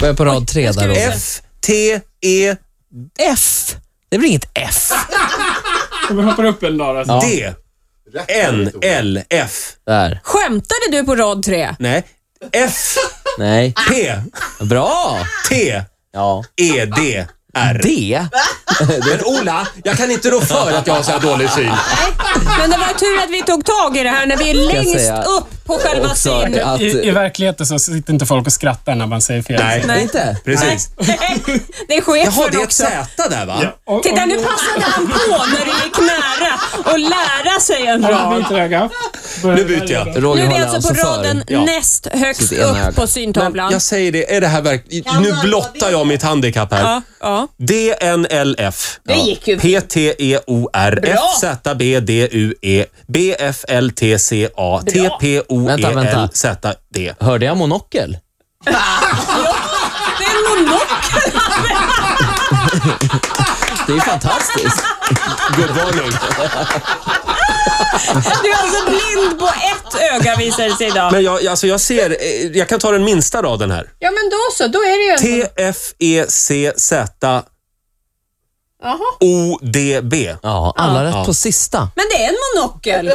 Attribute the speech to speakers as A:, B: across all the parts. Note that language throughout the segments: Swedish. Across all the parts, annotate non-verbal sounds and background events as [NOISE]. A: Vad är på rad tre där Roger?
B: F, T, E,
A: F. Det blir inget F.
C: Om vi hoppar upp en dag alltså.
B: D, N, L, F.
A: Där.
D: Skämtade du på rad tre?
B: Nej. F,
A: Nej.
B: P,
A: Bra!
B: T,
A: Ja.
B: E, D, R.
A: D. [LAUGHS]
B: Men Ola, jag kan inte rå för att jag har så här dålig syn.
D: Men det var tur att vi tog tag i det här när vi är
A: jag
D: längst
A: säga
D: upp på själva
A: också
D: synen.
A: att-
C: I, I verkligheten så sitter inte folk och skrattar när man säger fel.
B: Nej,
D: Nej.
A: Inte?
B: precis.
D: [LAUGHS] Det är chefen
B: Jaha, det är ett
D: också.
B: Z där va?
C: Och, och,
D: Titta, nu passade han på när det gick nära och lära sig en
C: Ja,
D: rad.
C: byt öga.
B: Nu byter
A: Roger
B: jag.
D: Nu är vi
A: håller
D: alltså på
A: för.
D: raden
B: Ja.
D: näst högst
A: Sitt ena
D: upp
A: ögat.
D: på
B: Men
D: syntavlan.
B: jag säger det, är det här verkligen... Nu blottar jag mitt handikapp här.
D: Ja, ja.
B: D, N, L, F.
D: Det gick ju.
B: P, T, E, O, R. F,
D: Bra.
B: Z, B, D, U, E. B, F, L, T, C, A. T, P, O, E,
A: Vänta,
B: L,
A: vänta.
B: Z, D.
A: Hörde jag monokel?
D: Det är en monokel.
A: Det är
D: [LAUGHS]
A: fantastiskt.
B: Gubbvarning.
D: Du är alltså blind på ett öga visar det sig idag.
B: Men jag, alltså jag ser, eh, jag kan ta den minsta raden här.
D: Ja, men då så. Då är det ju en...
B: T, F, E, C, Z,
D: Jaha.
B: O, D, B.
A: Ja, alla rätt på sista.
D: Men det är en monokel.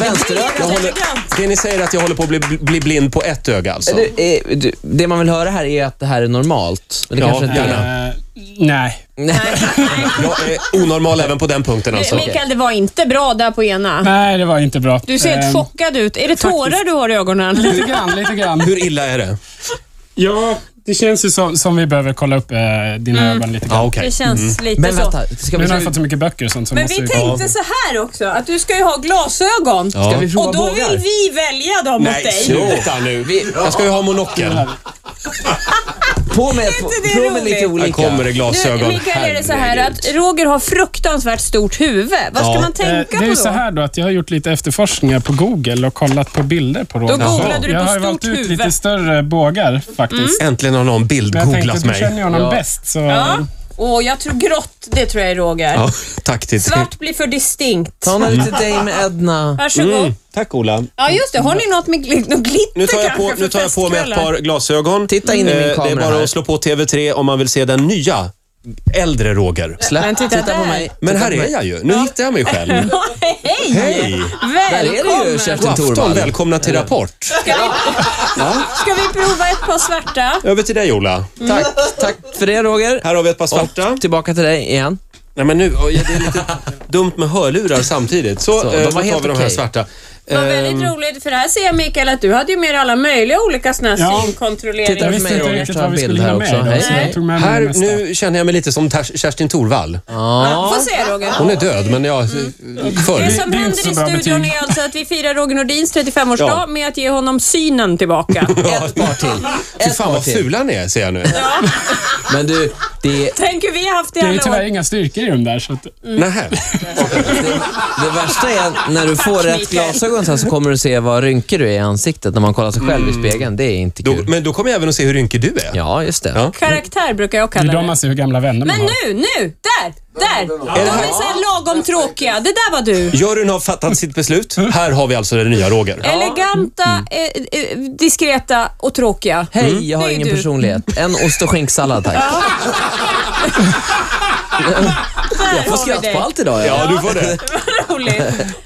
A: Vänsterögat.
B: Jag håller, det ni säger är att jag håller på att bli, bli blind på ett öga alltså?
A: Det, eh, du- det man vill höra här är att det här är normalt. Men det
B: Ja,
A: kanske inte [LAUGHS] är.
B: gärna.
C: Eh, nej.
A: Nej.
B: Jag är onormal även på den punkten alltså.
D: Mikael, det var inte bra där på ena.
C: nej, det var inte bra.
D: Du ser helt
C: Ehm,
D: chockad ut. Är det tårar du har i ögonen?
C: Lite grann, lite grann.
B: Hur illa är det?
C: Ja, det känns ju som, som vi behöver kolla upp eh, dina
D: Mm.
C: ögon lite grann.
B: Ja,
D: [LAUGHS] Det
B: okej.
D: känns lite
A: Men
D: så.
A: vänta, ska
C: Nu
A: vi,
C: när jag
A: ska,
C: fått så mycket böcker och sånt så
D: Men
C: måste
D: vi
C: vi...
D: tänkte så här också, att du ska ju ha glasögon.
B: Ja.
A: vi prova
D: Och då vill
A: bågar?
D: vi välja dem åt
B: Nej,
D: dig.
B: sluta nu. Jag ska ju ha monokel.
A: På med, på,
D: det
A: på med
D: roligt?
A: lite
B: Här
A: olika.
B: kommer det
D: Nu,
B: glasögon.
D: Mikael, är det så här
B: Herregud.
D: att Roger har fruktansvärt stort huvud. Vad ska
B: Ja.
D: man
C: Eh,
D: tänka
C: Det är
D: på
C: ju
D: då?
C: så här då att jag har gjort lite efterforskningar på Google och kollat på bilder på Roger.
D: googlade du på
C: Jag har ju
D: stort
C: valt ut
D: huvud. Mm.
C: lite större bågar faktiskt.
B: Äntligen har någon
C: Men jag tänkte att
B: bildgooglat
C: du känner
B: mig.
C: ju honom
A: Ja.
C: bäst så...
D: Ja. Och jag tror grått, det tror jag är Roger.
B: Ja, tack till
D: Svart blir för distinkt.
A: Ta med lite Dame
D: [LAUGHS]
A: Edna.
D: Varsågod.
B: Tack Ola.
D: Ja, just det. Har ni något med gl- något glitter
B: Mm. Nu tar jag på,
D: kanske
B: nu
D: för
B: tar jag på mig ett
D: festkvällar?
B: par glasögon.
A: Titta in i min
B: Eh, Det är
A: kamera
B: bara
A: här.
B: att slå på TV3 om man vill se den nya, äldre Roger.
D: Men
A: Släpp,
D: titta
A: titta på
D: där.
A: mig.
B: Men
A: titta
B: här
A: på
B: är
A: mig.
B: jag ju. Nu hittar jag
A: [LAUGHS]
B: mig själv.
D: [LAUGHS] Hej!
B: Hej!
A: Där är det ju
D: Välkommen!
A: Kerstin
B: God afton,
A: Thorvall.
B: välkomna till Rapport.
D: Ska vi prova ett par svarta?
B: Över till dig Ola.
A: Tack, tack för det Roger.
B: Här har vi ett par svarta.
A: Tillbaka till dig igen.
B: Nej men nu, oj, det är lite dumt med hörlurar samtidigt. Så,
A: Så,
B: eh,
A: de var
B: då tar vi
A: helt
B: de här
A: okej.
B: svarta.
D: Det var
B: Eh,
C: Ehm.
D: väldigt roligt, för här ser jag Mikael att du hade ju med alla möjliga olika såna här
C: Ja.
A: Titta
C: Jag
D: synkontrolleringar.
A: på
C: visste
A: mig
C: inte
A: Roger,
C: riktigt
A: ta
C: vad
A: en
C: vi skulle
A: bild här
C: hinna
A: också.
C: med idag, så
A: Hej.
C: jag tog med mig Mm,
B: här,
C: det mesta.
B: nu känner jag mig lite som Ter- Kerstin Thorvall.
D: Ja, Får se Roger.
B: Hon är död, men jag...
A: Mm.
B: eh,
D: Det
B: Förr.
D: som
C: det är inte
D: händer
C: så
D: i
C: bra
D: studion
C: betyg.
D: är alltså att vi firar Roger Nordins 35-årsdag
B: Ja.
D: med att ge honom synen
C: [LAUGHS]
D: tillbaka.
B: Ja, ett par till. Fy fan vad fula ni är, ser jag nu.
A: Men du, det,
D: Tänk hur vi har haft det i
C: Det är ju
D: alla
C: tyvärr
D: år.
C: inga styrkor i de där så att...
A: Mm.
B: Nähä.
A: det, det värsta är när du får rätt
D: Mikael.
A: glasögon sen så kommer du se vad rynkig du är i ansiktet när man kollar sig själv i spegeln. Det är inte
B: Mm. Då,
A: kul.
B: men då kommer jag även att se hur rynkig du är.
A: Ja, just det.
B: Ja.
D: Karaktär brukar jag
C: Det är
D: kalla
C: då
D: det.
C: man ser hur gamla vänner man
D: Men
C: har.
D: nu, nu, där, där. De är så här lagom tråkiga. Det där var du.
B: Juryn har fattat sitt beslut. Här har vi alltså den nya Roger.
D: Eleganta,
C: Mm.
D: eh, eh, diskreta och tråkiga.
A: Hej, jag har
D: Det är
A: ingen
D: du.
A: personlighet. En ost och skinksallad tack.
D: Där
A: Jag får
D: har vi
A: skratt
D: dig.
A: på allt idag. Ja.
B: Ja, du får det.
D: [LAUGHS] Vad roligt.